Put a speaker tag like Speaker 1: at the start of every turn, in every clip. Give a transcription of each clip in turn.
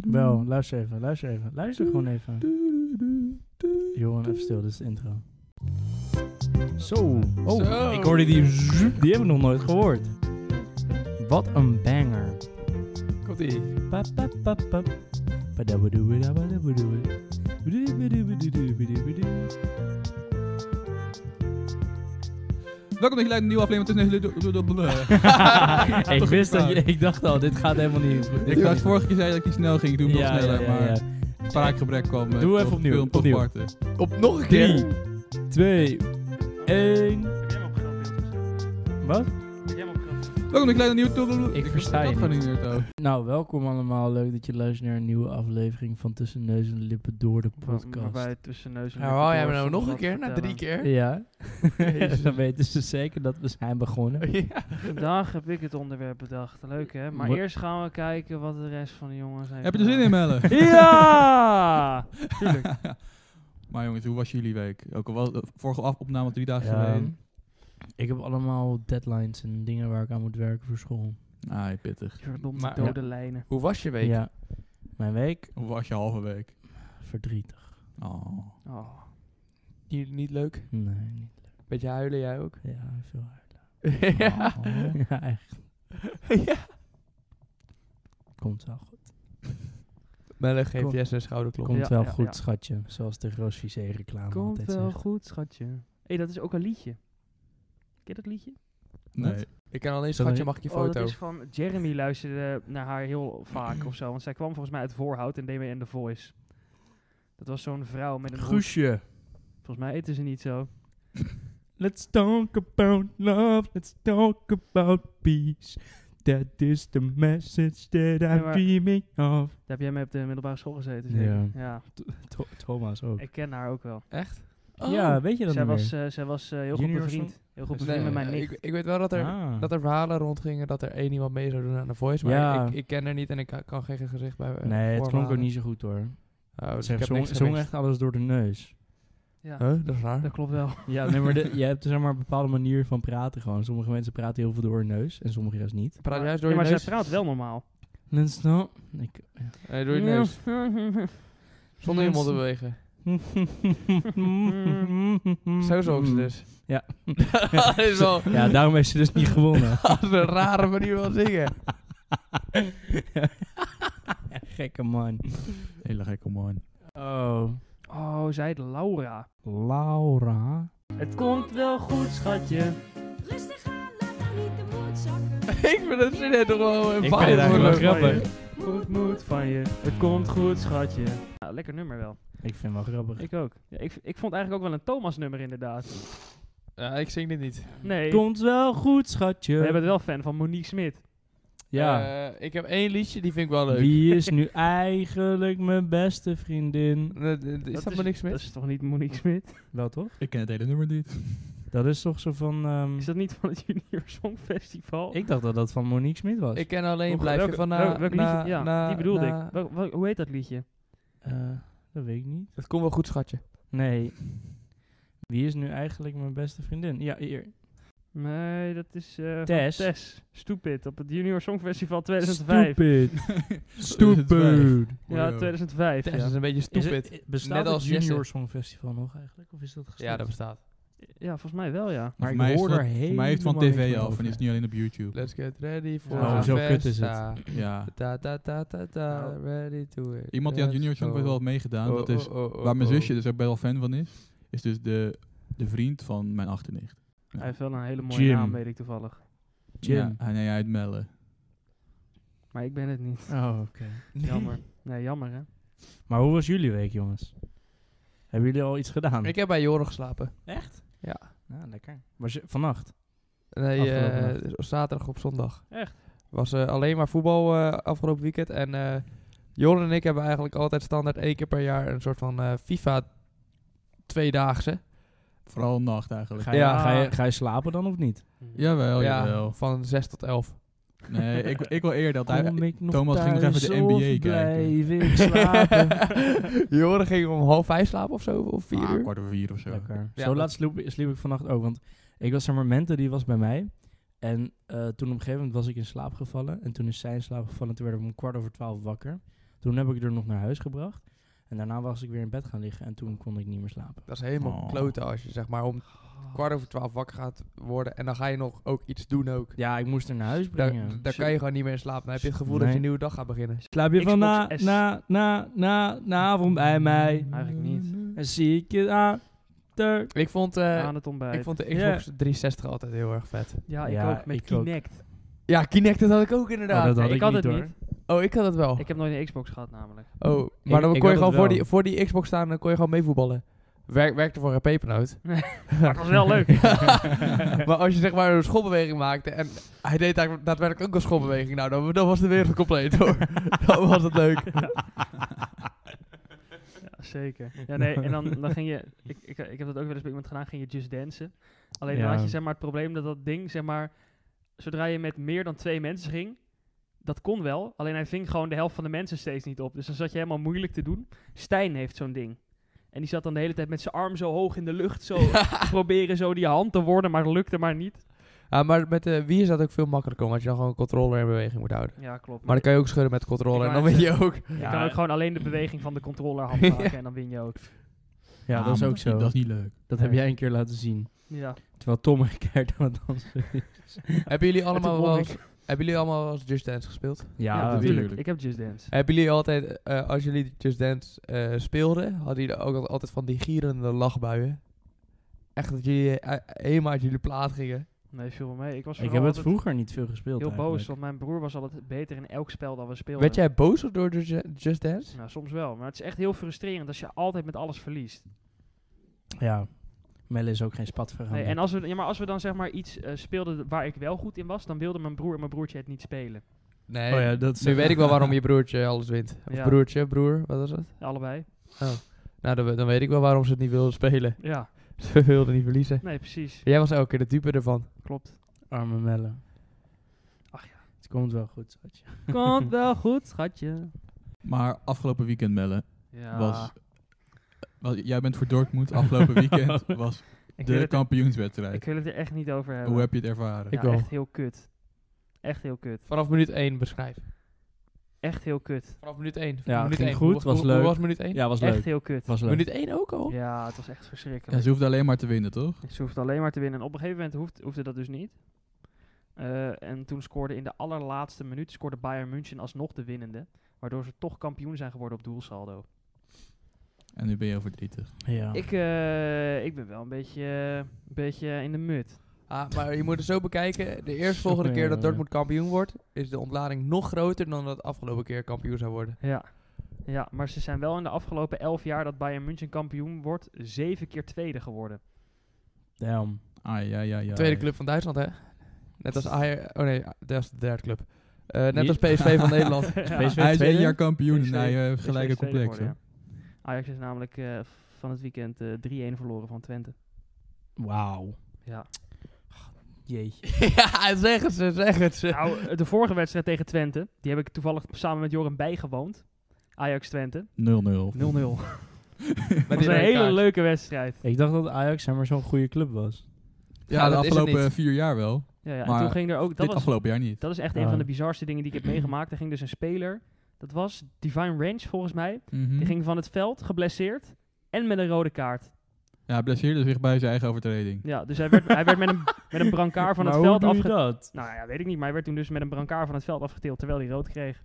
Speaker 1: Wel, luister even, luister even. Luister gewoon even. Johan, even stil, dit is de intro. Zo. Oh,
Speaker 2: Zo.
Speaker 1: ik hoorde die... zoep, Die heb ik nog nooit gehoord. Wat een banger.
Speaker 2: Komt ie.
Speaker 1: Pa, pa, pa, pa. Padabadoebadabadoebadoe. Bedoebedoebedoebedoebedoe.
Speaker 2: Welkom dat je luidt een nieuwe aflevering tussen
Speaker 1: ik wist dat je... Ik dacht al, dit gaat helemaal niet... dit
Speaker 2: Ik
Speaker 1: kan
Speaker 2: dacht
Speaker 1: niet.
Speaker 2: vorige keer zei dat ik niet snel ging, ik doe hem nog sneller, maar spraakgebrek kwam. eh,
Speaker 1: Doe
Speaker 2: tot
Speaker 1: even opnieuw,
Speaker 2: veel
Speaker 1: opnieuw.
Speaker 2: topparten.
Speaker 3: Op nog een
Speaker 1: Drie,
Speaker 3: keer.
Speaker 1: twee, één...
Speaker 4: Heb jij hem op geld ingezet?
Speaker 1: Wat?
Speaker 4: Heb jij hem op geld ingezet?
Speaker 2: Welkom dat je luidt een nieuwe...
Speaker 1: Ik versta je
Speaker 2: dat van
Speaker 1: niet.
Speaker 2: die nerd ook.
Speaker 1: Nou, welkom allemaal. Leuk dat je luistert naar een nieuwe aflevering van Tussen Neus en Lippen door de podcast.
Speaker 4: Waarbij tussen neus en
Speaker 3: Herhaal jij me nou nog een keer? Na drie keer?
Speaker 1: Ja,
Speaker 3: Jezus.
Speaker 1: dan weten ze zeker dat we zijn begonnen.
Speaker 3: Ja.
Speaker 4: Vandaag heb ik het onderwerp bedacht. Leuk hè? Maar
Speaker 1: Wat-
Speaker 4: eerst gaan we kijken wat de rest van de jongens heeft
Speaker 2: Heb je er zin in,
Speaker 4: gedaan.
Speaker 2: Melle?
Speaker 4: Ja! Tuurlijk.
Speaker 2: Maar jongens, hoe was jullie week? Ook al was de vorige af- opname drie dagen
Speaker 1: Ja.
Speaker 2: geleden.
Speaker 1: Ik heb allemaal deadlines en dingen waar ik aan moet werken voor school.
Speaker 2: Ah, pittig.
Speaker 4: Verdomd
Speaker 3: Maar-
Speaker 4: dode lijnen.
Speaker 3: Hoe was je week?
Speaker 1: Ja, mijn week
Speaker 2: Hoe was je halve week?
Speaker 1: verdrietig.
Speaker 2: Oh.
Speaker 4: Oh.
Speaker 3: Niet, niet leuk?
Speaker 1: Nee, niet.
Speaker 3: Beetje huilen jij ook?
Speaker 1: Ja, veel hard.
Speaker 3: ja.
Speaker 2: Oh.
Speaker 1: ja, echt.
Speaker 3: ja.
Speaker 1: Komt wel goed.
Speaker 3: Melle geeft
Speaker 1: Kom.
Speaker 3: Jesse een schouderklop.
Speaker 1: Komt
Speaker 4: Ja,
Speaker 1: wel
Speaker 4: ja,
Speaker 1: goed,
Speaker 4: ja.
Speaker 1: schatje. Zoals de Roos Vissé reclame
Speaker 4: Komt
Speaker 1: altijd
Speaker 4: wel
Speaker 1: zegt.
Speaker 4: goed, schatje. Hé, hey, dat is ook een liedje. Ken je dat liedje?
Speaker 2: Nee.
Speaker 3: Ik kan alleen
Speaker 1: Zal
Speaker 3: schatje,
Speaker 1: ik-
Speaker 3: mag ik je
Speaker 4: oh, dat
Speaker 3: foto?
Speaker 4: is van... Jeremy luisterde naar haar heel vaak of zo. Want zij kwam volgens mij uit Voorhout en deed mee in The Voice. Dat was zo'n vrouw met een hoed.
Speaker 1: Guusje.
Speaker 4: Volgens mij eten ze niet zo.
Speaker 1: Let's talk about love. Let's talk about peace. That is the message that
Speaker 4: Ja,
Speaker 1: I'm
Speaker 4: maar-
Speaker 1: dreaming of.
Speaker 4: Daar heb jij mee op de middelbare school gezeten, zeker?
Speaker 1: Ja.
Speaker 4: Ja.
Speaker 1: Thomas ook.
Speaker 4: Ik ken haar ook wel.
Speaker 3: Echt? Oh,
Speaker 1: Ja, weet je dat
Speaker 4: Zij
Speaker 1: niet
Speaker 4: was,
Speaker 1: meer?
Speaker 4: eh, zij was eh, heel goed
Speaker 1: Junior of
Speaker 4: bevriend.
Speaker 1: zo?
Speaker 4: Heel goed
Speaker 1: Nee,
Speaker 4: bevriend met mijn
Speaker 3: Eh,
Speaker 4: nicht.
Speaker 3: ik, ik weet wel dat er,
Speaker 1: Ah.
Speaker 3: dat er verhalen rondgingen dat er één iemand mee zou doen aan de voice, maar
Speaker 1: Ja.
Speaker 3: ik, ik ken haar niet en ik ka- kan geen gezicht bij eh,
Speaker 1: nee, het klonk ook
Speaker 3: voorhalen.
Speaker 1: niet zo goed hoor.
Speaker 3: Oh, dus
Speaker 1: Ze
Speaker 3: ik heb
Speaker 1: zong,
Speaker 3: niks
Speaker 1: zong
Speaker 3: gemist.
Speaker 1: echt alles door de neus.
Speaker 4: Ja,
Speaker 3: Huh, dat is raar.
Speaker 4: dat klopt wel.
Speaker 1: Ja, nee, maar de- je hebt zeg maar een bepaalde manier van praten gewoon. Sommige mensen praten heel veel door hun neus en sommige juist niet.
Speaker 3: Praat
Speaker 4: Maar-
Speaker 3: juist door
Speaker 4: ja,
Speaker 3: je
Speaker 4: maar
Speaker 3: neus?
Speaker 4: zij praat wel normaal.
Speaker 1: Let's talk. Ik,
Speaker 3: Nee, door je neus. Zonder je mond te bewegen.
Speaker 1: Mm.
Speaker 3: Zo zong ze dus.
Speaker 1: Ja.
Speaker 3: dat is wel
Speaker 1: Ja, daarom heeft ze dus niet gewonnen.
Speaker 3: dat is een rare manier van zingen.
Speaker 1: Gekke man.
Speaker 2: Hele gekke man.
Speaker 1: Oh.
Speaker 4: Oh, zij heet Laura.
Speaker 1: Laura.
Speaker 4: Het komt wel goed, schatje.
Speaker 5: Rustig aan, laat nou niet de moed zakken.
Speaker 3: ik vind dat zin toch wel een
Speaker 1: Ik
Speaker 3: vibe
Speaker 1: vind het eigenlijk
Speaker 3: worden.
Speaker 1: wel
Speaker 4: van
Speaker 1: grappig.
Speaker 4: je. Goed moed van je. Het komt goed, schatje. Ja, lekker nummer wel.
Speaker 1: Ik vind het wel grappig.
Speaker 4: Ik ook. Ja, ik, ik vond eigenlijk ook wel een Thomas nummer inderdaad.
Speaker 3: Ja, ik zing dit niet.
Speaker 4: Nee, we
Speaker 1: Komt wel goed, schatje.
Speaker 4: hebben het wel fan van Monique Smit.
Speaker 1: ja.
Speaker 3: Eh, ik heb één liedje, die vind ik wel leuk.
Speaker 1: Wie is nu eigenlijk mijn beste vriendin?
Speaker 3: Eh, d- d- Is dat, maar niks
Speaker 4: Dat
Speaker 3: mis?
Speaker 4: is toch niet Monique Smit?
Speaker 1: Wel toch?
Speaker 2: Ik ken het hele nummer niet.
Speaker 1: Dat is toch zo van... ehm,
Speaker 4: Is dat niet van het Junior Songfestival?
Speaker 1: Ik dacht dat dat van Monique Smit was.
Speaker 3: Ik ken alleen
Speaker 4: Hoe-
Speaker 3: Blijf je
Speaker 4: welke-
Speaker 3: van na...
Speaker 4: welk- welk
Speaker 3: na-
Speaker 4: liedje? Ja,
Speaker 3: na-
Speaker 4: die bedoelde
Speaker 3: na-
Speaker 4: ik. Wel- wel- hoe heet dat liedje?
Speaker 1: Eh, dat weet ik niet.
Speaker 3: Het komt wel goed, schatje.
Speaker 1: Nee. Wie is nu eigenlijk mijn beste vriendin? Ja, hier.
Speaker 4: Nee, dat is eh, van
Speaker 1: Tess.
Speaker 4: Tess. Stupid. Op het Junior Songfestival 2005.
Speaker 1: Stupid. Stupid.
Speaker 4: Ja, 2005.
Speaker 3: Tess
Speaker 4: Ja.
Speaker 3: is een beetje
Speaker 1: Is
Speaker 3: stupid.
Speaker 1: het, bestaat
Speaker 3: Net als
Speaker 1: het Junior
Speaker 3: Jesse.
Speaker 1: Songfestival nog eigenlijk? Of is dat gestopt?
Speaker 3: ja, dat bestaat.
Speaker 4: ja, volgens mij wel, ja.
Speaker 1: Maar
Speaker 2: Maar
Speaker 1: ik
Speaker 2: mij
Speaker 1: hoor
Speaker 2: hoor
Speaker 1: er
Speaker 2: Voor mij heeft het
Speaker 1: helemaal
Speaker 2: van
Speaker 1: niks
Speaker 2: tv
Speaker 1: meer
Speaker 2: af en
Speaker 1: over.
Speaker 2: is het niet alleen op YouTube.
Speaker 3: Let's get ready for
Speaker 4: Oh,
Speaker 3: the
Speaker 1: zo kut is het.
Speaker 3: festa.
Speaker 2: Ja.
Speaker 3: Da da da da da,
Speaker 4: Nou.
Speaker 3: ready to it.
Speaker 2: Iemand die aan het Junior
Speaker 3: Let's go.
Speaker 2: Songfestival heeft meegedaan,
Speaker 3: Oh,
Speaker 2: dat is
Speaker 3: oh, oh, oh,
Speaker 2: Waar mijn
Speaker 3: oh.
Speaker 2: zusje dus ook best wel fan van is, is dus de, de vriend van mijn achternicht.
Speaker 4: Hij heeft wel een hele mooie
Speaker 1: Jim.
Speaker 4: naam, weet ik toevallig.
Speaker 1: Jim.
Speaker 2: Ja, hij- nee, hij uit Mellen.
Speaker 4: Maar ik ben het niet.
Speaker 1: Oh, oké.
Speaker 4: Jammer. Nee, jammer hè.
Speaker 1: Maar hoe was jullie week, jongens? Hebben jullie al iets gedaan?
Speaker 3: Ik heb bij Joren geslapen.
Speaker 1: Echt?
Speaker 3: Ja.
Speaker 1: Ja, lekker. Was je vannacht?
Speaker 3: Nee,
Speaker 1: Afgelopen
Speaker 3: eh,
Speaker 1: nacht.
Speaker 3: dus op zaterdag op zondag.
Speaker 4: Echt?
Speaker 3: Was eh, alleen maar voetbal eh, afgelopen weekend. En eh Joren en ik hebben eigenlijk altijd standaard één keer per jaar een soort van eh, FIFA tweedaagse.
Speaker 2: Vooral nacht eigenlijk.
Speaker 1: Ga je,
Speaker 3: Ja.
Speaker 1: ga, je, ga je slapen dan of niet?
Speaker 2: Jawel,
Speaker 3: ja,
Speaker 2: Oh, jawel.
Speaker 3: van 6 tot 11.
Speaker 2: Nee, ik, ik wil eerder dat hij...
Speaker 1: Kom ik nog
Speaker 2: Thomas ging nog
Speaker 1: thuis
Speaker 2: even de
Speaker 1: of
Speaker 2: NBA kijken.
Speaker 1: blijf ik slapen?
Speaker 3: Joren ging om half vijf slapen of zo, of vier
Speaker 2: Ah,
Speaker 3: uur.
Speaker 2: kwart over vier of zo.
Speaker 1: Lekker.
Speaker 3: Ja,
Speaker 1: Zo
Speaker 3: dat-
Speaker 1: laat sliep, sliep ik vannacht ook. Want ik was er momenten, die was bij mij. En eh, toen op een gegeven moment was ik in slaap gevallen. En toen is zij in slaap gevallen. En toen werden we om kwart over twaalf wakker. Toen heb ik er nog naar huis gebracht. En daarna was ik weer in bed gaan liggen en toen kon ik niet meer slapen.
Speaker 3: Dat is helemaal
Speaker 2: Oh.
Speaker 3: kloten als je zeg maar om kwart over twaalf wakker gaat worden. En dan ga je nog ook iets doen ook.
Speaker 1: Ja, ik moest er naar huis brengen.
Speaker 3: Daar, daar kan je gewoon niet meer in slapen. Dan heb je het gevoel dat
Speaker 1: Nee.
Speaker 3: je een nieuwe dag gaat beginnen.
Speaker 1: Slaap je
Speaker 4: Xbox
Speaker 1: van na,
Speaker 4: S.
Speaker 1: na, na, na, na avond bij mij?
Speaker 4: Mm, Eigenlijk
Speaker 3: Eh,
Speaker 4: niet.
Speaker 1: En zie ik je aan. ter-
Speaker 3: Ik vond, eh,
Speaker 4: aan het ontbijt.
Speaker 3: ik vond de Xbox 360 altijd heel erg vet.
Speaker 4: ja, ik
Speaker 1: Ja,
Speaker 4: ook. Met
Speaker 1: ik ook.
Speaker 4: Kinect.
Speaker 3: Ja, Kinect, dat had ik ook
Speaker 1: Oh,
Speaker 3: inderdaad.
Speaker 1: dat
Speaker 4: Nee,
Speaker 1: had ik niet, hoor.
Speaker 3: Oh, ik had dat wel.
Speaker 4: Ik heb nooit een Xbox gehad namelijk.
Speaker 3: Oh,
Speaker 1: Ik-
Speaker 3: maar dan
Speaker 1: ik
Speaker 3: kon
Speaker 1: had het
Speaker 3: je gewoon
Speaker 1: wel.
Speaker 3: voor die, voor die Xbox staan en dan kon je gewoon meevoetballen. Werk, werkte voor een pepernoot.
Speaker 4: Maar het was wel leuk.
Speaker 3: maar als je zeg maar een schoolbeweging maakte en hij deed daar daadwerkelijk ook een schoolbeweging, nou dan, dan was de wereld compleet hoor. dan was het leuk.
Speaker 4: Ja, zeker. Ja, nee, en dan, dan ging je... Ik, ik, ik heb dat ook wel eens bij iemand gedaan, ging je just dansen. Alleen dan
Speaker 1: Ja.
Speaker 4: had je zeg maar het probleem dat dat ding, zeg maar... Zodra je met meer dan twee mensen ging, dat kon wel. Alleen hij ving gewoon de helft van de mensen steeds niet op. Dus dan zat je helemaal moeilijk te doen. Stijn heeft zo'n ding. En die zat dan de hele tijd met zijn arm zo hoog in de lucht, zo proberen zo die hand te worden, maar dat lukte maar niet.
Speaker 3: Ja, maar met de Wii is dat ook veel makkelijker, omdat je dan gewoon een controller in beweging moet houden.
Speaker 4: Ja, klopt.
Speaker 3: Maar dan kan je ook schudden met de controller en
Speaker 4: Ik
Speaker 3: dan
Speaker 4: wou
Speaker 3: weet je ook.
Speaker 4: je
Speaker 1: Ja,
Speaker 4: kan ook gewoon alleen de beweging van de controller handmaken en dan win je ook.
Speaker 1: ja, dat is
Speaker 2: maar
Speaker 1: ook zo.
Speaker 2: Nou, Dat is
Speaker 1: Nou, Dat,
Speaker 2: niet leuk.
Speaker 1: heb
Speaker 4: Nee.
Speaker 1: jij een keer laten zien.
Speaker 4: Ja.
Speaker 1: Terwijl Tom een keer aan het dansen is.
Speaker 3: Hebben jullie allemaal
Speaker 4: toen
Speaker 3: wel
Speaker 4: won
Speaker 3: eens, hebben jullie allemaal wel eens Just Dance gespeeld?
Speaker 4: Ja,
Speaker 1: Ja,
Speaker 4: natuurlijk.
Speaker 2: tuurlijk.
Speaker 4: Ik heb Just Dance.
Speaker 3: Hebben jullie altijd, eh, als jullie Just Dance eh, speelden, hadden jullie ook al- altijd van die gierende lachbuien? Echt dat jullie eh, helemaal uit jullie plaat gingen.
Speaker 4: Nee, viel wel mee. Ik was
Speaker 1: ik
Speaker 4: vooral
Speaker 1: heb het
Speaker 4: altijd
Speaker 1: vroeger niet veel gespeeld.
Speaker 4: heel boos,
Speaker 1: eigenlijk.
Speaker 4: want mijn broer was altijd beter in elk spel dan we speelden.
Speaker 3: Werd jij boos door Just Just Dance?
Speaker 4: Nou, soms wel. Maar het is echt heel frustrerend als je altijd met alles verliest.
Speaker 1: Ja. Melle is ook geen spat vergaan.
Speaker 4: Nee, en als we, ja, maar als we dan zeg maar iets eh, speelden waar ik wel goed in was, dan wilden mijn broer en mijn broertje het niet spelen.
Speaker 3: Nee.
Speaker 1: Oh ja, dat is-
Speaker 3: nu weet ik wel waarom je broertje alles wint. Of
Speaker 4: Ja.
Speaker 3: broertje, broer, wat was het?
Speaker 4: Allebei.
Speaker 3: Nou, dan, we- dan weet ik wel waarom ze het niet wilden spelen.
Speaker 4: Ja,
Speaker 3: Ze wilden niet verliezen.
Speaker 4: nee, precies.
Speaker 3: Jij was elke keer de dupe ervan.
Speaker 4: Klopt.
Speaker 1: Arme Melle.
Speaker 4: Ach ja.
Speaker 1: Het komt wel goed, schatje.
Speaker 4: Komt wel goed, schatje.
Speaker 2: Maar afgelopen weekend, Melle,
Speaker 4: Ja.
Speaker 2: was, was- Jij bent voor Dortmund. Afgelopen weekend was
Speaker 4: ik, wil
Speaker 2: de
Speaker 4: het er,
Speaker 2: kampioenswedstrijd.
Speaker 4: ik wil het er echt niet over hebben.
Speaker 2: Hoe heb je het ervaren?
Speaker 4: ja,
Speaker 3: Ik wel.
Speaker 4: echt heel kut. Echt heel kut.
Speaker 3: Vanaf minuut 1 beschrijf.
Speaker 4: Echt heel kut.
Speaker 3: Vanaf minuut 1.
Speaker 1: Ja,
Speaker 3: minuut
Speaker 1: ging
Speaker 3: één.
Speaker 1: goed,
Speaker 3: Hoe-
Speaker 1: was
Speaker 3: hoe-
Speaker 1: leuk.
Speaker 3: Hoe was minuut 1?
Speaker 1: Ja, was
Speaker 4: Echt
Speaker 1: leuk.
Speaker 4: heel kut.
Speaker 1: Was leuk.
Speaker 3: Minuut 1 ook al?
Speaker 4: Ja, het was echt verschrikkelijk.
Speaker 2: Ja, ze hoefde alleen maar te winnen, toch?
Speaker 4: Ze hoefde alleen maar te winnen. En op een gegeven moment hoeft, hoefde dat dus niet. Eh, en toen scoorde in de allerlaatste minuut scoorde Bayern München alsnog de winnende. Waardoor ze toch kampioen zijn geworden op doelsaldo.
Speaker 2: En nu ben je verdrietig.
Speaker 1: Ja.
Speaker 4: Ik, eh, ik ben wel een beetje, eh, een beetje in de mut.
Speaker 3: Ah, maar je moet het zo bekijken. De eerstvolgende
Speaker 1: Ja,
Speaker 3: keer dat
Speaker 1: ja.
Speaker 3: Dortmund kampioen wordt, is de ontlading nog groter dan dat het afgelopen keer kampioen zou worden.
Speaker 4: Ja. ja, maar ze zijn wel in de afgelopen elf jaar dat Bayern München kampioen wordt, zeven keer tweede geworden.
Speaker 1: Damn.
Speaker 2: Ah, ja, ja, ja.
Speaker 3: Tweede club van Duitsland, hè? Net als Ajax. Oh nee, dat is de derde club. Eh, net
Speaker 1: Wie?
Speaker 3: als PSV van Nederland.
Speaker 4: ja.
Speaker 1: PSV
Speaker 2: Hij is één
Speaker 1: tweede?
Speaker 2: jaar kampioen en
Speaker 4: PSV
Speaker 2: hij eh,
Speaker 4: PSV is
Speaker 2: gelijke
Speaker 4: tweede
Speaker 2: complex.
Speaker 4: geworden,
Speaker 2: hoor.
Speaker 4: ja. Ajax is namelijk eh, van het weekend eh, 3-1 verloren van Twente.
Speaker 1: Wauw.
Speaker 4: Ja.
Speaker 1: Jeetje.
Speaker 3: ja, zeg het ze, zeg het ze.
Speaker 4: Nou, de vorige wedstrijd tegen Twente, die heb ik toevallig samen met Joren bijgewoond. Ajax Twente,
Speaker 2: 0-0.
Speaker 4: 0-0. Dat
Speaker 3: Met
Speaker 4: was
Speaker 3: die
Speaker 4: een
Speaker 3: rode
Speaker 4: hele
Speaker 3: kaart.
Speaker 4: leuke wedstrijd.
Speaker 1: Ik dacht dat Ajax zeg maar zo'n goede club was.
Speaker 3: Ja,
Speaker 2: Ja, de
Speaker 3: dat is het
Speaker 2: afgelopen eh, vier jaar wel.
Speaker 4: Ja, ja. En
Speaker 2: Maar
Speaker 4: toen ging er ook, dat,
Speaker 2: Dit
Speaker 4: was,
Speaker 2: afgelopen jaar niet.
Speaker 4: dat is echt
Speaker 1: Ja.
Speaker 4: een van de bizarste dingen die ik heb meegemaakt. Er ging dus een speler, dat was Divine Range volgens mij.
Speaker 2: Mhm.
Speaker 4: Die ging van het veld, geblesseerd en met een rode kaart.
Speaker 2: Ja, hij blesseerde zich bij zijn eigen overtreding.
Speaker 4: Ja, dus hij werd, hij werd met, een, met een brancard van het
Speaker 1: Maar
Speaker 4: veld
Speaker 1: hoe doe je
Speaker 4: afgetild.
Speaker 1: dat?
Speaker 4: Nou ja, weet ik niet, maar hij werd toen dus met een brancard van het veld afgetild terwijl hij rood kreeg.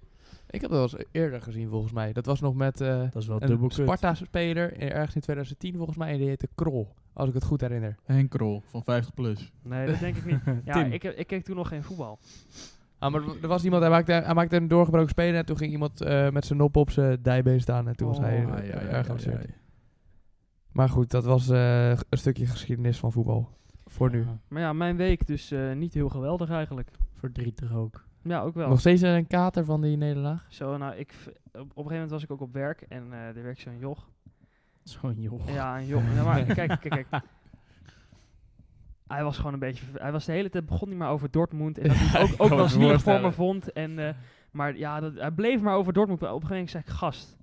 Speaker 3: Ik heb dat wel eens eerder gezien, volgens mij. Dat was nog met eh,
Speaker 1: Dat is wel dubbel
Speaker 3: een
Speaker 1: kut.
Speaker 3: Sparta-speler, eh, ergens in 2010 volgens mij. En die heette Krol, als ik het goed herinner.
Speaker 2: Henk Krol van 50 plus.
Speaker 4: Nee, dat denk ik niet. Ja,
Speaker 1: Tim.
Speaker 4: ik, ik keek toen nog geen voetbal.
Speaker 3: Ah, maar er was iemand, hij maakte, hij maakte een doorgebroken speler en toen ging iemand eh, met zijn nop op zijn dijbeen staan en toen was
Speaker 4: Oh.
Speaker 3: hij
Speaker 2: Ah,
Speaker 3: eh,
Speaker 2: ja, ja,
Speaker 3: erg
Speaker 2: ja, ja,
Speaker 3: geblesseerd.
Speaker 2: ja.
Speaker 3: Maar goed, dat was eh, een stukje geschiedenis van voetbal. Voor nu.
Speaker 1: Ja,
Speaker 4: Maar ja, mijn week dus eh, niet heel geweldig eigenlijk.
Speaker 1: verdrietig ook.
Speaker 4: Ja, ook wel.
Speaker 3: Nog steeds eh, een kater van die nederlaag?
Speaker 4: Zo, nou, ik, v- op op een gegeven moment was ik ook op werk en eh er werkte zo'n joch.
Speaker 1: Zo'n joh.
Speaker 4: Ja, een joch. Ja, maar kijk, kijk, kijk. Hij was gewoon een beetje... ver- Hij was de hele tijd... begon niet maar over Dortmund. En dat hij het ook, ook
Speaker 3: me
Speaker 4: wel zielig voor me
Speaker 3: voorstellen.
Speaker 4: vond. En, eh, maar ja, dat, hij bleef maar over Dortmund. Op een gegeven moment zei ik, gast,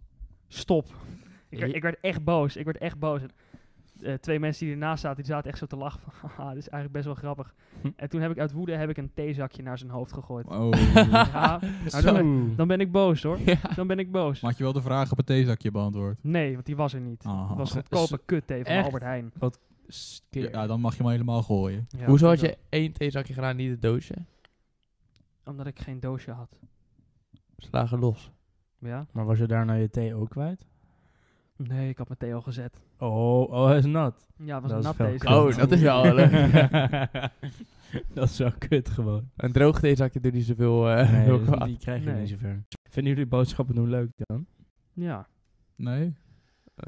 Speaker 4: stop. Ik, werd- ik werd echt boos. Ik werd echt boos. En eh, twee mensen die ernaast zaten, die zaten echt zo te lachen van, haha, dit is eigenlijk best wel grappig.
Speaker 1: Hm.
Speaker 4: En toen heb ik uit woede heb ik een theezakje naar zijn hoofd gegooid.
Speaker 2: Oh.
Speaker 4: Ja, nou, dan, ben- dan ben ik boos hoor. Dan ben ik boos.
Speaker 2: Maar had je wel de vraag op het theezakje beantwoord?
Speaker 4: Nee, want die was er niet.
Speaker 2: Ah.
Speaker 4: Het was goedkope kuttee van
Speaker 3: Echt?
Speaker 4: Albert Heijn.
Speaker 1: Skeer.
Speaker 2: Ja, dan mag je hem helemaal gooien.
Speaker 4: Ja,
Speaker 3: Hoezo had
Speaker 4: vind ik
Speaker 3: je één theezakje gedaan, niet het doosje?
Speaker 4: wel. Omdat ik geen doosje had.
Speaker 3: Slagen los.
Speaker 4: Ja?
Speaker 1: Maar was je daarna je thee ook kwijt?
Speaker 4: Nee, ik had mijn thee al gezet.
Speaker 1: Oh, oh, hij is nat.
Speaker 4: Ja,
Speaker 1: Dat
Speaker 4: het was een
Speaker 1: is
Speaker 4: nat
Speaker 1: wel
Speaker 4: deze.
Speaker 1: kut.
Speaker 3: Oh, dat is wel leuk.
Speaker 1: dat is wel kut gewoon.
Speaker 3: Een droog theezakje doet niet zoveel eh
Speaker 1: Nee,
Speaker 3: heel
Speaker 1: dus
Speaker 3: kwaad.
Speaker 1: die krijg je
Speaker 4: Nee.
Speaker 1: niet zover. Vinden jullie boodschappen doen leuk dan?
Speaker 4: Ja,
Speaker 2: Nee?
Speaker 4: ik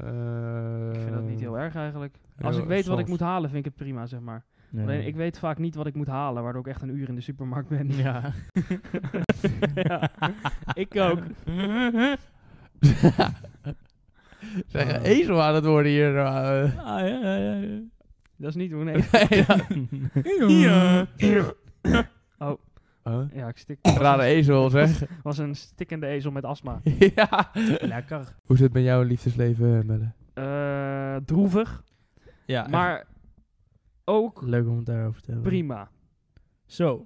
Speaker 4: vind dat niet heel
Speaker 1: Eh,
Speaker 4: erg eigenlijk. Als
Speaker 3: heel
Speaker 4: ik weet wat ik
Speaker 3: soms.
Speaker 4: moet halen, vind ik het prima, zeg maar.
Speaker 1: Nee.
Speaker 4: Alleen, ik weet vaak niet wat ik moet halen, waardoor ik echt een uur in de supermarkt ben.
Speaker 1: Ja.
Speaker 4: Ja, ik ook.
Speaker 3: Eh, Zeg, ezel aan het worden hier. eh.
Speaker 1: Ah, ja, ja, ja, ja.
Speaker 4: Dat is niet hoe nee.
Speaker 3: Nee, dat-
Speaker 1: Ja.
Speaker 3: Huh?
Speaker 4: Ja, ik stik.
Speaker 3: Rare ezel, zeg.
Speaker 4: was een stikkende ezel met astma.
Speaker 3: ja.
Speaker 1: Lekker.
Speaker 3: Hoe zit het met jouw liefdesleven, Melle?
Speaker 4: Eh, droevig,
Speaker 1: Ja,
Speaker 4: maar ook
Speaker 1: leuk om het daarover te hebben.
Speaker 4: prima.
Speaker 1: Zo.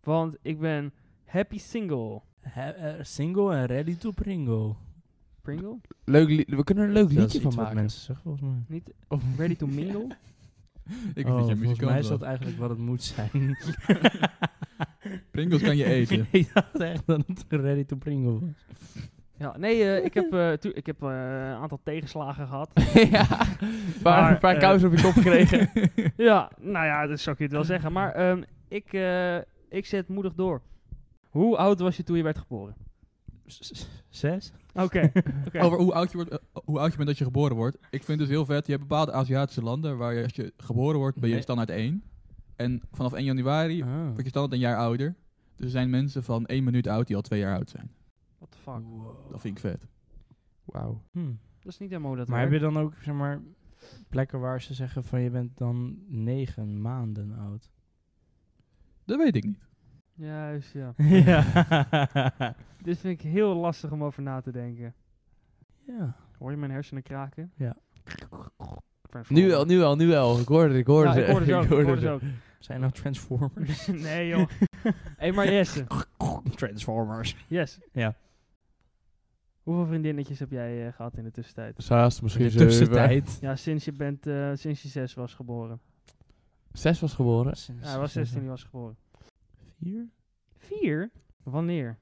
Speaker 4: Want ik ben happy single.
Speaker 1: He- eh, single en ready to pringle.
Speaker 4: Pringle?
Speaker 3: Leuk li- we kunnen er een leuk
Speaker 1: Dat is
Speaker 3: liedje van
Speaker 1: iets wat
Speaker 3: maken.
Speaker 1: mensen zeggen volgens mij.
Speaker 4: Niet ready to mingle?
Speaker 2: Ik
Speaker 1: Oh,
Speaker 2: vind dat je
Speaker 1: volgens mij
Speaker 2: muzikant
Speaker 1: is dat
Speaker 2: was.
Speaker 1: eigenlijk wat het moet zijn.
Speaker 2: Pringles kan je eten.
Speaker 1: ik dacht echt dat het ready to pringle was.
Speaker 4: Ja, nee, eh, ik heb, eh, tu- ik heb eh, een aantal tegenslagen gehad.
Speaker 3: ja. Maar,
Speaker 4: Maar,
Speaker 3: een paar
Speaker 4: eh,
Speaker 3: kousen op je kop gekregen.
Speaker 4: ja, nou ja, dat zou ik je het wel zeggen. Maar ehm, ik, eh, ik zet moedig door. Hoe oud was je toen je werd geboren?
Speaker 1: S- s- Zes?
Speaker 4: Oké. oké.
Speaker 2: Over hoe oud, je wordt, eh, hoe oud je bent dat je geboren wordt. Ik vind het heel vet. Je hebt bepaalde Aziatische landen waar je, als je geboren wordt, ben je
Speaker 1: Nee.
Speaker 2: standaard 1. En vanaf 1 januari
Speaker 1: Ah.
Speaker 2: word je standaard een jaar ouder. Dus er zijn mensen van 1 minuut oud die al 2 jaar oud zijn.
Speaker 4: What the fuck?
Speaker 2: Dat vind ik vet.
Speaker 3: Wauw.
Speaker 1: Hm.
Speaker 4: Dat is niet helemaal hoe dat
Speaker 1: Maar heb je
Speaker 4: werkt.
Speaker 1: dan ook zeg maar, plekken waar ze zeggen van je bent dan negen maanden oud?
Speaker 2: Dat weet ik niet.
Speaker 4: Juist, ja.
Speaker 1: ja.
Speaker 4: Dit vind ik heel lastig om over na te denken.
Speaker 1: ja.
Speaker 4: Hoor je mijn hersenen kraken?
Speaker 1: Ja.
Speaker 3: Nu wel, nu wel, nu wel. Ik hoorde het, ik hoorde
Speaker 4: Ja,
Speaker 3: het.
Speaker 4: ik hoorde ze ook. Ik hoorde ze ook.
Speaker 1: Zijn nou Transformers?
Speaker 4: nee, joh. hey, maar Jesse.
Speaker 1: Transformers.
Speaker 4: Yes.
Speaker 1: Ja.
Speaker 4: Hoeveel vriendinnetjes heb jij eh, gehad in de tussentijd?
Speaker 3: Saast misschien
Speaker 1: In de
Speaker 3: zeven.
Speaker 1: tussentijd.
Speaker 4: Ja, sinds je, bent, eh, sinds je zes was geboren.
Speaker 3: Zes was geboren.
Speaker 4: Ja, hij was zes toen hij was geboren.
Speaker 1: Vier?
Speaker 4: Vier? Wanneer?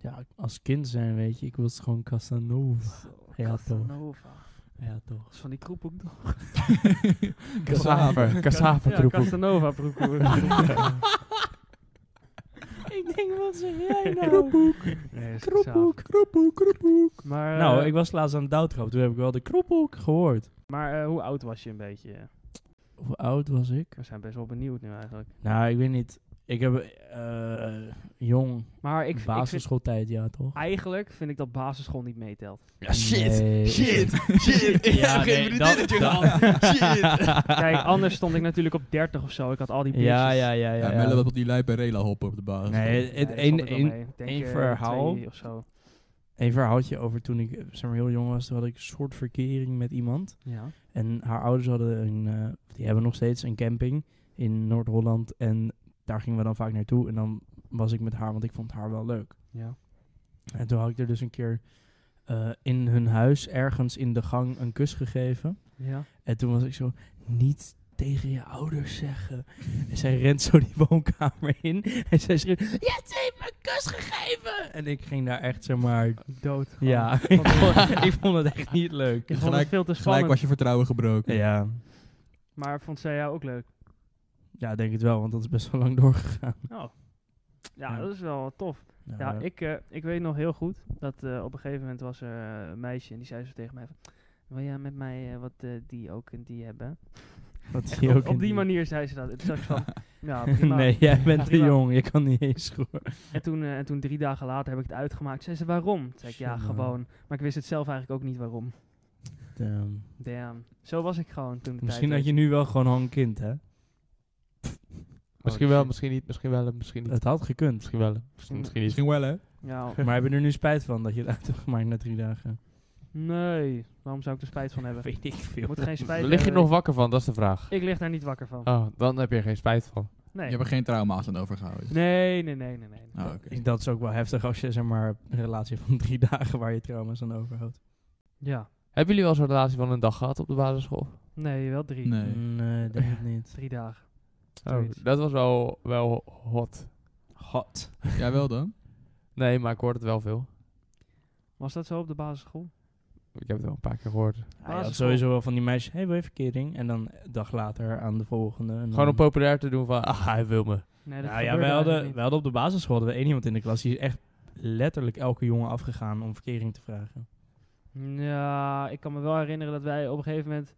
Speaker 1: Ja, als kind zijn weet je, ik was gewoon Casanova. Ja, toch.
Speaker 4: Casanova.
Speaker 1: Ja, toch.
Speaker 4: Dat is van die kroep ook nog.
Speaker 3: Kassaver.
Speaker 4: Ja,
Speaker 3: Kassavertroepel.
Speaker 4: Casanova broek.
Speaker 1: ik denk, wat zeg jij nou?
Speaker 4: Nee, dat is
Speaker 1: Kroephoek,
Speaker 4: gezellig. Maar, eh,
Speaker 1: Nou, ik was laatst aan het doodgrap. Toen heb ik wel de krophoek gehoord.
Speaker 4: maar eh, hoe oud was je een beetje?
Speaker 1: Hoe oud was ik?
Speaker 4: We zijn best wel benieuwd nu eigenlijk.
Speaker 1: Nou, ik weet niet. Ik heb eh, jong
Speaker 4: Maar ik, ik vind,
Speaker 1: basisschooltijd, ja toch?
Speaker 4: eigenlijk vind ik dat basisschool niet meetelt.
Speaker 3: Ja,
Speaker 1: Nee, is
Speaker 3: Ah, shit.
Speaker 1: Ja, nee, dat- dat-
Speaker 4: Kijk, anders stond ik natuurlijk op 30 of zo. Ik had al die biertjes.
Speaker 1: ja, ja, ja,
Speaker 2: Ja,
Speaker 1: ja.
Speaker 2: Melle wat op die lijp en rela hoppen op de basis.
Speaker 1: Nee,
Speaker 4: Ja,
Speaker 1: het,
Speaker 4: daar
Speaker 1: een,
Speaker 4: stond ik wel
Speaker 1: een,
Speaker 4: mee. Ik denk,
Speaker 1: één
Speaker 4: eh,
Speaker 1: verhaal.
Speaker 4: twee of zo.
Speaker 1: een verhaaltje over toen ik eh, zeg maar, heel jong was. Toen had ik een soort verkering met iemand.
Speaker 4: Ja.
Speaker 1: En haar ouders hadden een, eh, die hebben nog steeds een camping in Noord-Holland. En daar gingen we dan vaak naartoe. En dan was ik met haar, want ik vond haar wel leuk.
Speaker 4: ja.
Speaker 1: En toen had ik er dus een keer eh, in hun huis, ergens in de gang, een kus gegeven.
Speaker 4: Ja.
Speaker 1: En toen was ik zo, niet tegen je ouders zeggen. En zij rent zo die woonkamer in. En zij schreeuwt, je hebt me een kus gegeven! En ik ging daar echt, zeg maar...
Speaker 4: Dood. gewoon.
Speaker 1: Ja,
Speaker 4: Ik
Speaker 1: ik
Speaker 4: vond het-
Speaker 1: vond, ik vond het echt niet leuk.
Speaker 4: ik vond
Speaker 2: Gelijk-
Speaker 4: het veel te
Speaker 2: Gelijk
Speaker 4: spannend.
Speaker 2: was je vertrouwen gebroken.
Speaker 1: Ja,
Speaker 4: Maar vond zij jou ook leuk?
Speaker 1: ja, denk het wel, want dat is best wel lang doorgegaan.
Speaker 4: Oh. Ja,
Speaker 1: Ja.
Speaker 4: dat is wel tof.
Speaker 1: Nou,
Speaker 4: Ja, ik, eh, ik weet nog heel goed dat eh, op een gegeven moment was er eh, een meisje en die zei zo tegen mij van... Wil jij met mij eh, wat eh, die ook en die hebben?
Speaker 1: Wat
Speaker 4: Echt
Speaker 1: zie je
Speaker 4: op,
Speaker 1: ook in
Speaker 4: op die manier zei ze dat. En toen dacht ik van, ja, prima.
Speaker 1: Nee, jij bent te
Speaker 4: Prima.
Speaker 1: jong, je kan niet eens hoor.
Speaker 4: En toen, eh, en toen drie dagen later heb ik het uitgemaakt. Zei ze, waarom? Toen zei ik, ja,
Speaker 1: Tjonge.
Speaker 4: gewoon. Maar ik wist het zelf eigenlijk ook niet waarom.
Speaker 1: Damn.
Speaker 4: Damn. Zo was ik gewoon toen de
Speaker 1: ehm, Misschien
Speaker 4: tijd
Speaker 1: had je nu wel gewoon al een kind, hè?
Speaker 3: Misschien wel, misschien niet, misschien wel, misschien niet.
Speaker 1: Het had gekund.
Speaker 3: Misschien wel, misschien niet.
Speaker 2: Misschien wel, hè?
Speaker 4: werd. Ja,
Speaker 1: Maar hebben we er nu spijt van dat je het uit hebt gemaakt na drie dagen?
Speaker 4: Nee, waarom zou ik er spijt van hebben?
Speaker 1: Weet ik
Speaker 4: Je
Speaker 1: veel.
Speaker 4: moet geen spijt
Speaker 3: Lig je
Speaker 4: hebben.
Speaker 3: nog wakker van? Dat is de vraag.
Speaker 4: Ik lig daar niet wakker van.
Speaker 3: Oh, dan heb je er geen spijt van.
Speaker 4: Nee.
Speaker 2: Je hebt er geen trauma's aan overgehouden.
Speaker 4: nee. Nee, nee, nee, nee.
Speaker 2: Ah, oké.
Speaker 1: Dat is ook wel heftig als je zeg maar, een relatie van drie dagen waar je trauma's aan overhoudt.
Speaker 4: Ja.
Speaker 3: Hebben jullie wel zo'n relatie van een dag gehad op de basisschool?
Speaker 4: Nee, wel drie.
Speaker 2: Nee.
Speaker 1: Mm. Nee, denk ik niet.
Speaker 4: Drie dagen.
Speaker 3: Oh,
Speaker 4: Zoiets.
Speaker 3: dat was wel, wel hot.
Speaker 1: Hot.
Speaker 2: Jij wel dan?
Speaker 3: Nee, maar ik hoorde het wel veel.
Speaker 4: Was dat zo op de basisschool?
Speaker 3: Ik heb het wel een paar keer gehoord.
Speaker 1: Hij had
Speaker 4: Basisschool.
Speaker 1: sowieso wel van die meisjes, hey, wil je verkering? En dan een dag later aan de volgende. en
Speaker 3: Gewoon
Speaker 1: dan-
Speaker 3: om populair te doen van, ah, hij wil me.
Speaker 4: Nee, dat
Speaker 1: Nou ja, wij
Speaker 4: gebeurde eigenlijk
Speaker 1: hadden,
Speaker 4: niet.
Speaker 1: wij hadden op de basisschool hadden we één iemand in de klas die is echt letterlijk elke jongen afgegaan om verkering te vragen.
Speaker 4: Ja, ik kan me wel herinneren dat wij op een gegeven moment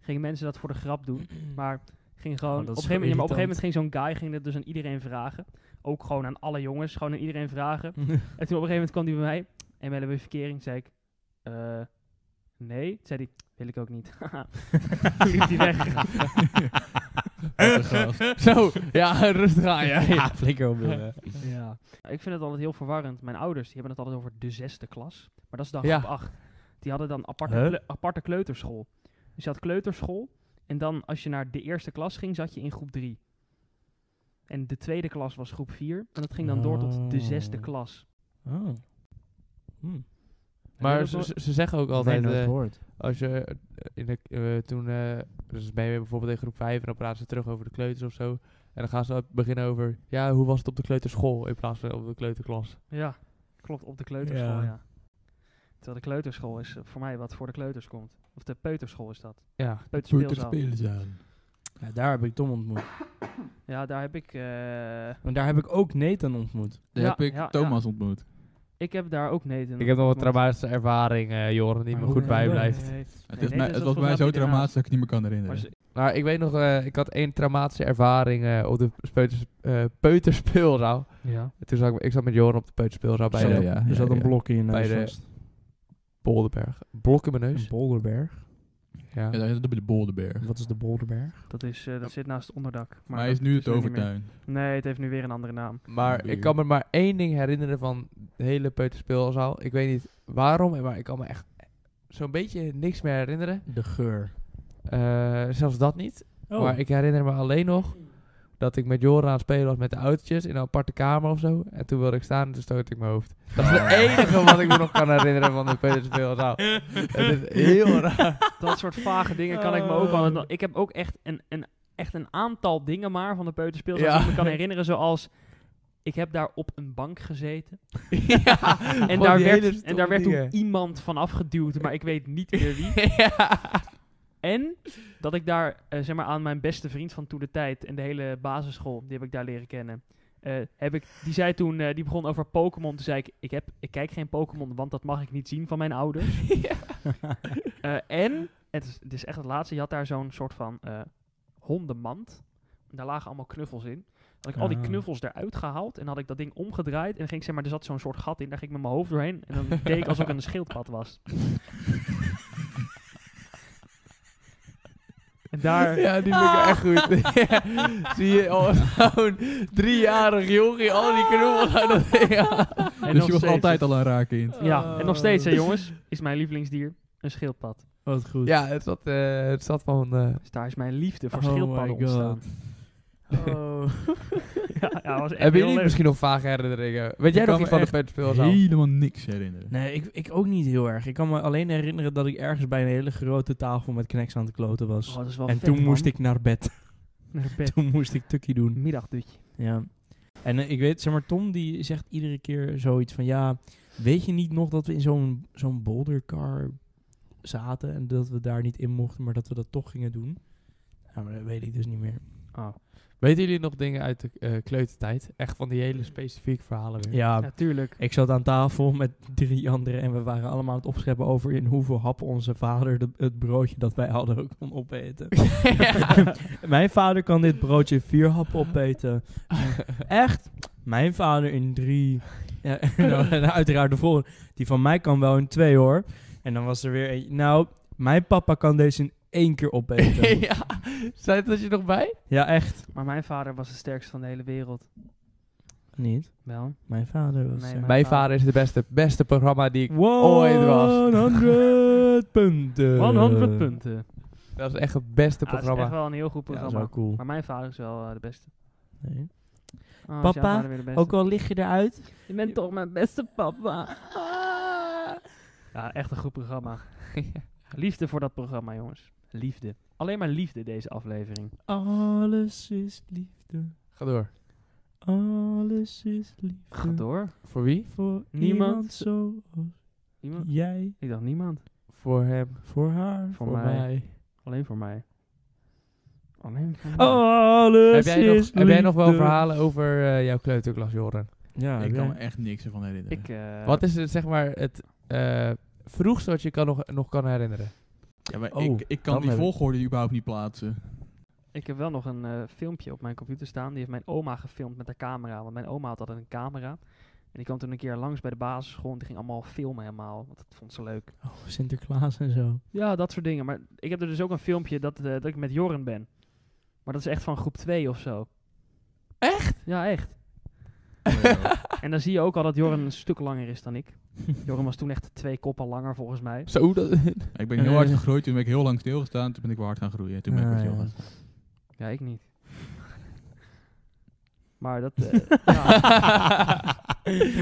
Speaker 4: gingen mensen dat voor de grap doen. Maar ging gewoon,
Speaker 1: Oh,
Speaker 4: op,
Speaker 1: dat
Speaker 4: een
Speaker 1: is
Speaker 4: gegeven moment, ja, maar op een
Speaker 1: irritant.
Speaker 4: gegeven moment ging zo'n guy ging dat dus aan iedereen vragen. Ook gewoon aan alle jongens, gewoon aan iedereen vragen. En toen op een gegeven moment kwam hij bij mij en we hebben verkering. zei ik, eh, nee. Toen zei hij, wil ik ook niet. Toen liep hij weg.
Speaker 2: Wat een gast.
Speaker 3: Zo, ja, rustig aan jij.
Speaker 1: ja, flikker op. Willem.
Speaker 4: ja. Ik vind het altijd heel verwarrend. Mijn ouders die hebben het altijd over de zesde klas. Maar dat is dan
Speaker 3: Ja.
Speaker 4: groep 8. Die hadden dan aparte,
Speaker 1: Huh?
Speaker 4: kle- aparte kleuterschool. Dus je had kleuterschool. En dan als je naar de eerste klas ging, zat je in groep 3. En de tweede klas was groep 4. En dat ging dan door tot de zesde
Speaker 1: Oh.
Speaker 4: klas.
Speaker 1: Oh. Hm.
Speaker 3: Maar
Speaker 4: dat
Speaker 3: ze,
Speaker 4: wel-
Speaker 3: ze- ze zeggen ook
Speaker 1: Altijd
Speaker 3: altijd,
Speaker 1: nooit
Speaker 3: eh,
Speaker 1: gehoord.
Speaker 3: als je eh, in de, eh, toen, eh, dus ben je bijvoorbeeld in groep 5 en dan praten ze terug over de kleuters of zo. En dan gaan ze al beginnen over, ja, hoe was het op de kleuterschool in plaats van op de kleuterklas.
Speaker 4: Ja, klopt. Op de kleuterschool, ja.
Speaker 1: Ja.
Speaker 4: Terwijl de kleuterschool is eh, voor mij wat voor de kleuters komt. Of de peuterschool is dat.
Speaker 3: Ja,
Speaker 4: Peuterspeelzaal.
Speaker 2: aan.
Speaker 1: Ja, daar heb ik Tom ontmoet.
Speaker 4: Ja, daar heb ik... eh,
Speaker 1: En daar heb ik ook Nathan ontmoet.
Speaker 2: Daar
Speaker 4: Ja,
Speaker 2: heb ik
Speaker 4: ja,
Speaker 2: Thomas ontmoet.
Speaker 4: ik heb daar ook Nathan.
Speaker 3: ik heb nog wat
Speaker 4: ontmoet.
Speaker 3: traumatische ervaring, eh Joren, die
Speaker 1: Maar
Speaker 3: me
Speaker 1: hoe
Speaker 3: goed
Speaker 1: dan?
Speaker 3: bijblijft.
Speaker 4: Nee, nee,
Speaker 2: Het,
Speaker 4: nee, dus
Speaker 2: is mij,
Speaker 4: dat
Speaker 2: het
Speaker 4: was
Speaker 2: was mij zo
Speaker 4: volgens mij
Speaker 2: traumatisch dat ik het niet meer kan
Speaker 4: Maar
Speaker 2: herinneren.
Speaker 4: ze-
Speaker 3: Nou, ik weet nog, eh, ik had één traumatische ervaring eh, op de peuters, eh, peuterspeelzaal.
Speaker 4: Ja.
Speaker 3: En Toen zat ik, ik zat met Joren op de peuterspeelzaal bij
Speaker 1: Zo,
Speaker 3: de
Speaker 2: ja, ja,
Speaker 1: er zat een
Speaker 2: ja.
Speaker 1: blok in je
Speaker 3: Bij
Speaker 1: neus
Speaker 3: de-
Speaker 1: vast.
Speaker 3: Bolderberg. Blok in mijn
Speaker 1: Een
Speaker 3: neus.
Speaker 1: bolderberg.
Speaker 3: Ja.
Speaker 2: Ja, daar zit het bij de Bolderberg.
Speaker 1: Wat is de bolderberg?
Speaker 4: Dat, is, eh, dat zit naast het onderdak. Maar,
Speaker 2: Maar hij
Speaker 4: dat
Speaker 2: is nu het
Speaker 4: er niet meer.
Speaker 2: overtuin.
Speaker 4: Nee, het heeft nu weer een andere naam.
Speaker 3: Maar ik kan me maar één ding herinneren van de hele peuterspeelzaal. Ik weet niet waarom, maar ik kan me echt zo'n beetje niks meer herinneren.
Speaker 1: De geur.
Speaker 3: Eh, zelfs dat niet.
Speaker 1: Oh,
Speaker 3: Maar ik herinner me alleen nog dat ik met Joren aan het spelen was met de autootjes in een aparte kamer of zo. En toen wilde ik staan en toen stootte ik mijn hoofd. Dat is
Speaker 4: Oh.
Speaker 3: het enige wat ik me nog kan herinneren van de peuterspeelzaal. Het is heel raar.
Speaker 4: Dat soort vage dingen kan ik me ook
Speaker 2: Oh.
Speaker 4: wel... Ik heb ook echt een, een, echt een aantal dingen maar van de peuterspeelzaal
Speaker 3: Ja.
Speaker 4: die ik me kan herinneren. Zoals, ik heb daar op een bank gezeten.
Speaker 3: ja,
Speaker 4: En
Speaker 3: gewoon
Speaker 4: daar,
Speaker 3: die hele
Speaker 4: werd, en
Speaker 3: stomme
Speaker 4: daar werd toen
Speaker 3: dingen.
Speaker 4: iemand van afgeduwd, maar ik weet niet meer wie.
Speaker 3: ja.
Speaker 4: En dat ik daar, eh, zeg maar, aan mijn beste vriend van toen de tijd en de hele basisschool, die heb ik daar leren kennen. eh, heb ik, die zei toen, eh, die begon over Pokémon. Toen zei ik, ik, heb, ik kijk geen Pokémon, want dat mag ik niet zien van mijn ouders. Eh, en, het is, het is echt het laatste, je had daar zo'n soort van eh, hondenmand. En daar lagen allemaal knuffels in. Had ik al die
Speaker 1: Ah.
Speaker 4: knuffels eruit gehaald en had ik dat ding omgedraaid. En ging ik, zeg maar, er zat zo'n soort gat in, daar ging ik met mijn hoofd doorheen. En dan deed ik alsof ik een schildpad was. En daar,
Speaker 3: Ja, die vind
Speaker 1: Ah.
Speaker 3: ik echt goed. Zie je al zo'n driejarig jochie al die knobbels aan dat ding aan.
Speaker 4: En
Speaker 2: dus
Speaker 4: nog
Speaker 2: je was
Speaker 4: steeds.
Speaker 2: altijd al een raar kind.
Speaker 4: Ja, en nog steeds, hè, jongens, is mijn lievelingsdier een schildpad.
Speaker 1: wat goed.
Speaker 3: Ja, het zat, eh, het zat van... eh,
Speaker 4: Dus daar is mijn liefde voor
Speaker 1: Oh my
Speaker 4: schildpadden
Speaker 1: God.
Speaker 4: ontstaan.
Speaker 1: Oh.
Speaker 4: Ja, ja, dat was echt
Speaker 3: hebben
Speaker 4: heel
Speaker 3: jullie
Speaker 4: leuk.
Speaker 3: misschien nog vage herinneringen? Weet jij
Speaker 2: Ik
Speaker 3: nog
Speaker 2: kan
Speaker 3: iets
Speaker 2: me
Speaker 3: van de
Speaker 2: echt
Speaker 3: peuterspeelzaal?
Speaker 2: Helemaal niks herinneren.
Speaker 1: Nee, ik, ik ook niet heel erg. Ik kan me alleen herinneren dat ik ergens bij een hele grote tafel met knacks aan het kloten was.
Speaker 4: Oh, dat is wel
Speaker 1: en
Speaker 4: vet,
Speaker 1: toen
Speaker 4: man. Mm.
Speaker 1: moest ik naar bed.
Speaker 4: Naar bed.
Speaker 1: Toen moest ik tukkie doen.
Speaker 4: Middagdutje.
Speaker 1: Ja. En eh, ik weet, zeg maar, Tom die zegt iedere keer zoiets van... Ja, weet je niet nog dat we in zo'n zo'n bouldercar zaten... en dat we daar niet in mochten, maar dat we dat toch gingen doen? Ja, maar dat weet ik dus niet meer.
Speaker 4: Oh.
Speaker 3: Weten jullie nog dingen uit de eh, kleutertijd? Echt van die hele specifieke verhalen weer.
Speaker 1: Ja,
Speaker 4: Natuurlijk.
Speaker 1: ik zat aan tafel met drie anderen... en we waren allemaal aan het opscheppen over... in hoeveel happen onze vader de- het broodje dat wij hadden ook kon opeten. Mijn vader kan dit broodje in vier happen opeten. Echt? Mijn vader in drie. Ja, en dan- en uiteraard de volgende. Die van mij kan wel in twee hoor. En dan was er weer een. Nou, mijn papa kan deze in één keer opeten.
Speaker 3: ja. Zijn dat je nog bij?
Speaker 1: ja, echt.
Speaker 4: Maar mijn vader was de sterkste van de hele wereld.
Speaker 1: Niet.
Speaker 4: Wel.
Speaker 1: Mijn vader was.
Speaker 4: Nee,
Speaker 1: eh,
Speaker 4: mijn
Speaker 3: Mijn
Speaker 4: vader.
Speaker 3: vader is het beste, beste programma die ik...
Speaker 1: Wow,
Speaker 3: ooit was.
Speaker 1: 100 punten.
Speaker 4: 100 punten.
Speaker 3: Dat is echt het beste
Speaker 4: Ah, dat is echt
Speaker 3: programma.
Speaker 4: wel een heel goed
Speaker 1: Ja, dat is
Speaker 4: programma.
Speaker 1: wel cool.
Speaker 4: maar mijn vader is wel eh, de beste.
Speaker 1: Nee.
Speaker 4: Oh, is
Speaker 1: Papa,
Speaker 4: jouw vader weer de beste?
Speaker 1: Ook al lig je eruit.
Speaker 4: Je bent toch mijn beste papa. Ja, echt een goed programma. Liefde voor dat programma, jongens. Liefde. Alleen maar liefde deze aflevering.
Speaker 1: Alles is liefde.
Speaker 3: Ga door.
Speaker 1: Alles is liefde.
Speaker 4: Ga door.
Speaker 3: Voor wie?
Speaker 1: Voor
Speaker 4: Niemand.
Speaker 1: niemand zoals
Speaker 4: Niemand?
Speaker 1: jij.
Speaker 4: Ik dacht niemand.
Speaker 3: Voor hem.
Speaker 1: Voor haar.
Speaker 4: Voor
Speaker 1: Voor,
Speaker 4: mij.
Speaker 1: mij.
Speaker 4: Alleen voor mij. Alleen voor mij.
Speaker 1: Oh. Alles
Speaker 3: Heb jij, nog,
Speaker 1: is
Speaker 3: heb jij nog wel
Speaker 1: liefde.
Speaker 3: verhalen over eh, jouw kleuterklas, Joren?
Speaker 1: Ja,
Speaker 2: ik
Speaker 1: heb
Speaker 2: kan me
Speaker 1: jij-
Speaker 2: echt niks ervan herinneren.
Speaker 4: Ik, eh,
Speaker 3: Wat is het, zeg maar het eh, vroegste wat je kan nog, nog kan herinneren?
Speaker 2: ja, maar
Speaker 1: Oh,
Speaker 2: ik, ik kan
Speaker 1: dan
Speaker 2: die
Speaker 1: heb ik-
Speaker 2: volgorde überhaupt niet plaatsen.
Speaker 4: ik heb wel nog een eh, filmpje op mijn computer staan. Die heeft mijn oma gefilmd met haar camera. Want mijn oma had altijd een camera. En die kwam toen een keer langs bij de basisschool. En die ging allemaal filmen helemaal. Want dat vond ze leuk.
Speaker 1: Oh, Sinterklaas en zo.
Speaker 4: Ja, dat soort dingen. Maar ik heb er dus ook een filmpje dat, eh, dat ik met Joren ben. Maar dat is echt van groep 2 of zo. Echt? Ja, echt. En dan zie je ook al dat Joren een stuk langer is dan ik. Joren was toen echt twee koppen langer volgens mij.
Speaker 3: Zo, dat,
Speaker 2: ik ben heel hard gegroeid, toen ben ik heel lang stilgestaan, toen ben ik weer hard gaan groeien. Toen ben ik
Speaker 1: Eh. Ah,
Speaker 2: weer stil
Speaker 1: ja.
Speaker 2: gaan staan.
Speaker 4: Ja, ik niet. Maar dat... eh, ja,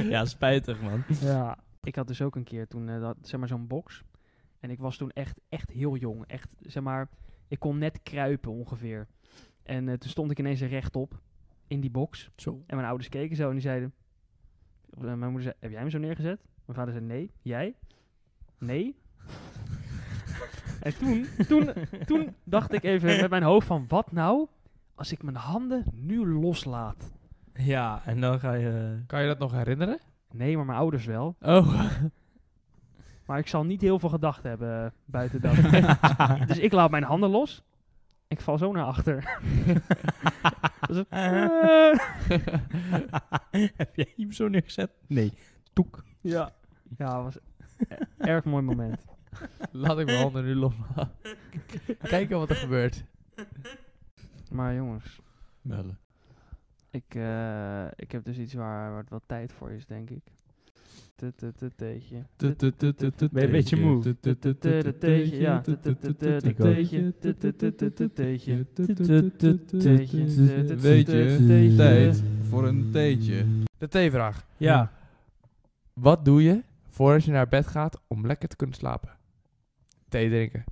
Speaker 1: ja, spijtig man.
Speaker 4: ja. Ik had dus ook een keer toen, eh, dat, zeg maar, zo'n box. En ik was toen echt, echt heel jong. Echt, zeg maar, ik kon net kruipen ongeveer. En eh, toen stond ik ineens rechtop in die box.
Speaker 1: Zo.
Speaker 4: En mijn ouders keken zo en die zeiden... eh, Mijn moeder zei, heb jij hem zo neergezet? Mijn vader zei, nee. Jij? Nee. en toen, toen, toen dacht ik even met mijn hoofd van, wat nou als ik mijn handen nu loslaat?
Speaker 1: Ja, en dan ga je...
Speaker 3: kan je dat nog herinneren?
Speaker 4: Nee, maar mijn ouders wel.
Speaker 3: Oh,
Speaker 4: Maar ik zal niet heel veel gedacht hebben eh, buiten dat. dus ik laat mijn handen los. Ik val zo naar achter. Dus ik, eh,
Speaker 1: heb jij hem zo neergezet? Nee. Toek.
Speaker 4: ja. ja, het was een erg mooi moment.
Speaker 3: laat ik mijn handen nu los. Kijken wat er gebeurt.
Speaker 4: Maar jongens,
Speaker 2: Bellen.
Speaker 4: Ik, eh, ik heb dus iets waar, waar het wel tijd voor is, denk ik. Tutututeetje.
Speaker 1: Ben je een beetje moe?
Speaker 4: Tutututeetje, ja. Tutututeetje, tutututeetje.
Speaker 2: Weet je, tijd voor een theetje.
Speaker 3: De T-vraag.
Speaker 1: Ja.
Speaker 3: Wat doe je voordat je naar bed gaat om lekker te kunnen slapen? Thee drinken.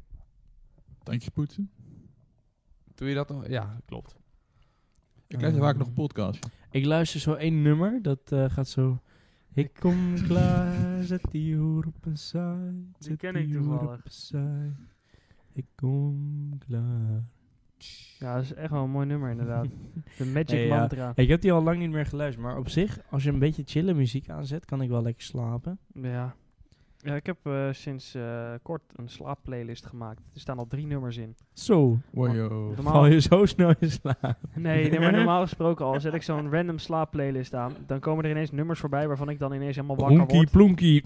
Speaker 2: Tandjes poetsen.
Speaker 3: Doe je dat nog? Ja, klopt.
Speaker 2: Ik luister vaak nog een podcast.
Speaker 1: Ik luister zo één nummer, dat eh, gaat zo... Ik kom klaar, zet die hoer op een saai. zet
Speaker 4: ken ik
Speaker 1: hoer
Speaker 4: toevallig.
Speaker 1: op een saai. Ik kom klaar.
Speaker 4: Ja, dat is echt wel een mooi nummer, inderdaad. De Magic
Speaker 1: Hey, ja.
Speaker 4: Mantra.
Speaker 1: Ik heb die al lang niet meer geluisterd, maar op zich, als je een beetje chille muziek aanzet, kan ik wel lekker slapen.
Speaker 4: Ja. Ja, ik heb eh, sinds eh, kort een slaapplaylist gemaakt. Er staan al drie nummers in.
Speaker 1: Zo,
Speaker 2: Wow.
Speaker 1: val
Speaker 4: Normaal,
Speaker 1: je zo snel in slaap.
Speaker 4: nee, nee, maar normaal gesproken al zet ik zo'n random slaapplaylist aan. Dan komen er ineens nummers voorbij waarvan ik dan ineens helemaal wakker
Speaker 1: Honkie,
Speaker 4: word.
Speaker 1: plonkie.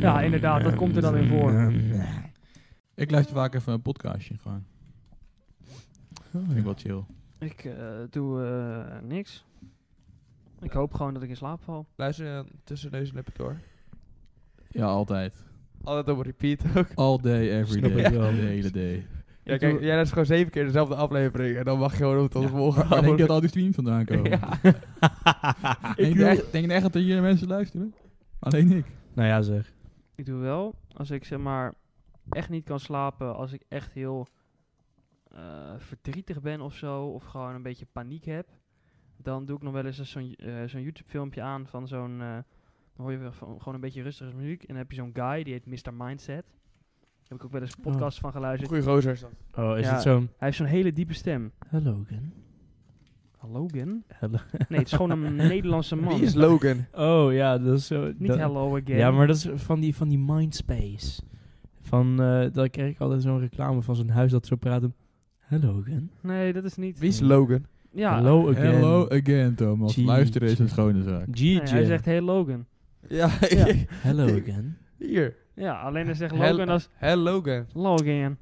Speaker 4: Ja, inderdaad, dat komt er dan in voor.
Speaker 2: Ik luister vaak even een podcastje gewoon.
Speaker 1: Oh,
Speaker 2: Vind ik wel chill.
Speaker 4: Ik eh, doe eh, niks. Ik hoop gewoon dat ik in slaap val.
Speaker 3: Luister je dan tussen neus en lippen door.
Speaker 2: Ja, altijd.
Speaker 3: Altijd op repeat ook.
Speaker 2: All day, every
Speaker 1: Snap
Speaker 2: day.
Speaker 1: ik wel.
Speaker 2: De hele day.
Speaker 3: Ja,
Speaker 4: Ik
Speaker 3: kijk,
Speaker 4: doe-
Speaker 3: jij luistert gewoon zeven keer dezelfde aflevering en dan mag je gewoon tot de volgende
Speaker 2: Waar denk je
Speaker 3: aflevering.
Speaker 2: dat al die streams vandaan komen? Denk je echt, denk je echt dat hier mensen luisteren? Alleen ik.
Speaker 1: Nou ja, zeg.
Speaker 4: Ik doe wel, als ik zeg maar echt niet kan slapen, als ik echt heel eh, verdrietig ben of zo, of gewoon een beetje paniek heb, dan doe ik nog wel eens een zo'n eh, zo'n YouTube-filmpje aan van zo'n, eh, dan hoor je wel van- gewoon een beetje rustige muziek. En dan heb je zo'n guy, die heet Mr. Mindset. Daar heb ik ook wel eens podcast van geluisterd.
Speaker 3: Goeie gozer is dat.
Speaker 1: Oh, is
Speaker 4: Ja.
Speaker 1: het zo'n...
Speaker 4: Hij heeft zo'n hele diepe stem.
Speaker 1: Hallo, Ken.
Speaker 4: Hallo, Gen?
Speaker 1: Hallo.
Speaker 4: Nee, het is gewoon een Nederlandse man.
Speaker 3: Wie is Logan?
Speaker 1: Oh ja, dat is zo...
Speaker 4: Niet
Speaker 1: dat-
Speaker 4: hello again.
Speaker 1: Ja, maar dat is van die, van die Mindspace. Van, eh daar kreeg ik altijd zo'n reclame van zo'n huis dat zo praten. Hello again.
Speaker 4: Nee, dat is niet.
Speaker 3: Wie is Logan?
Speaker 4: Ja,
Speaker 1: Hello again.
Speaker 2: Hello again, Thomas.
Speaker 1: Gee.
Speaker 2: Luisteren is een schone zaak.
Speaker 1: Gigi.
Speaker 4: nee, Nou hij zegt hey Logan.
Speaker 3: Ja,
Speaker 4: Ja.
Speaker 1: Hello again.
Speaker 3: hier.
Speaker 4: Ja, alleen hij zegt
Speaker 3: Hel-
Speaker 4: Logan als
Speaker 3: Hel Logan.
Speaker 4: Logan.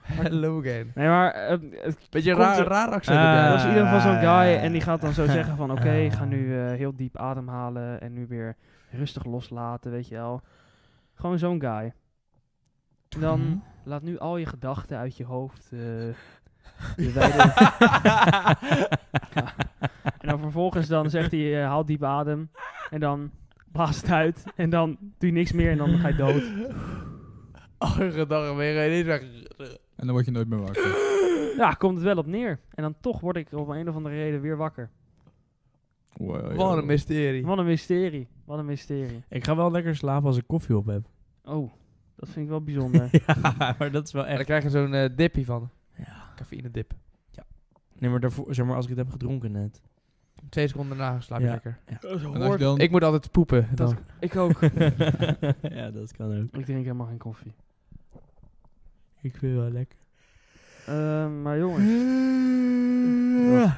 Speaker 3: Hello again.
Speaker 4: Nee, maar eh, het
Speaker 3: Beetje
Speaker 4: Komt
Speaker 3: raar,
Speaker 4: er- Ah.
Speaker 3: raar accent
Speaker 1: Ah.
Speaker 3: heb jij.
Speaker 4: Dat is in ieder geval zo'n guy
Speaker 1: Eh,
Speaker 4: en die gaat dan zo zeggen van oké,
Speaker 1: eh.
Speaker 4: ga nu eh, heel diep ademhalen en nu weer rustig loslaten, weet je wel. Gewoon zo'n guy. En
Speaker 1: Mhm.
Speaker 4: dan laat nu al je gedachten uit je hoofd. eh, je wijde- Ja. En dan vervolgens dan zegt hij eh, haal diep adem en dan blaast het uit en dan doe je niks meer en dan ga je dood.
Speaker 3: Oh, gedachten weer en ineens weg.
Speaker 2: En dan word je nooit meer wakker.
Speaker 4: Ja, komt het wel op neer. En dan toch word ik op een of andere reden weer wakker.
Speaker 2: Wow,
Speaker 4: Oh,
Speaker 3: Wat een
Speaker 2: joh.
Speaker 3: mysterie.
Speaker 4: Wat een mysterie. Wat een mysterie.
Speaker 1: Ik ga wel lekker slapen als ik koffie op heb.
Speaker 4: Oh, dat vind ik wel bijzonder.
Speaker 1: ja, maar dat is wel
Speaker 3: Daar
Speaker 1: echt...
Speaker 3: krijg je zo'n eh, dippie van.
Speaker 1: Ja.
Speaker 3: Cafeïne dip.
Speaker 1: Nee, maar, daarvoor, zeg maar als ik het heb gedronken net.
Speaker 3: Twee seconden daarna slaap je
Speaker 1: Ja.
Speaker 3: lekker.
Speaker 2: En als je dan...
Speaker 3: Ik moet altijd poepen.
Speaker 4: Dat-
Speaker 3: dan.
Speaker 4: ik ook.
Speaker 1: ja, dat kan ook.
Speaker 4: Ik drink helemaal geen koffie.
Speaker 1: Ik vind het wel lekker.
Speaker 4: Ehm, maar jongens,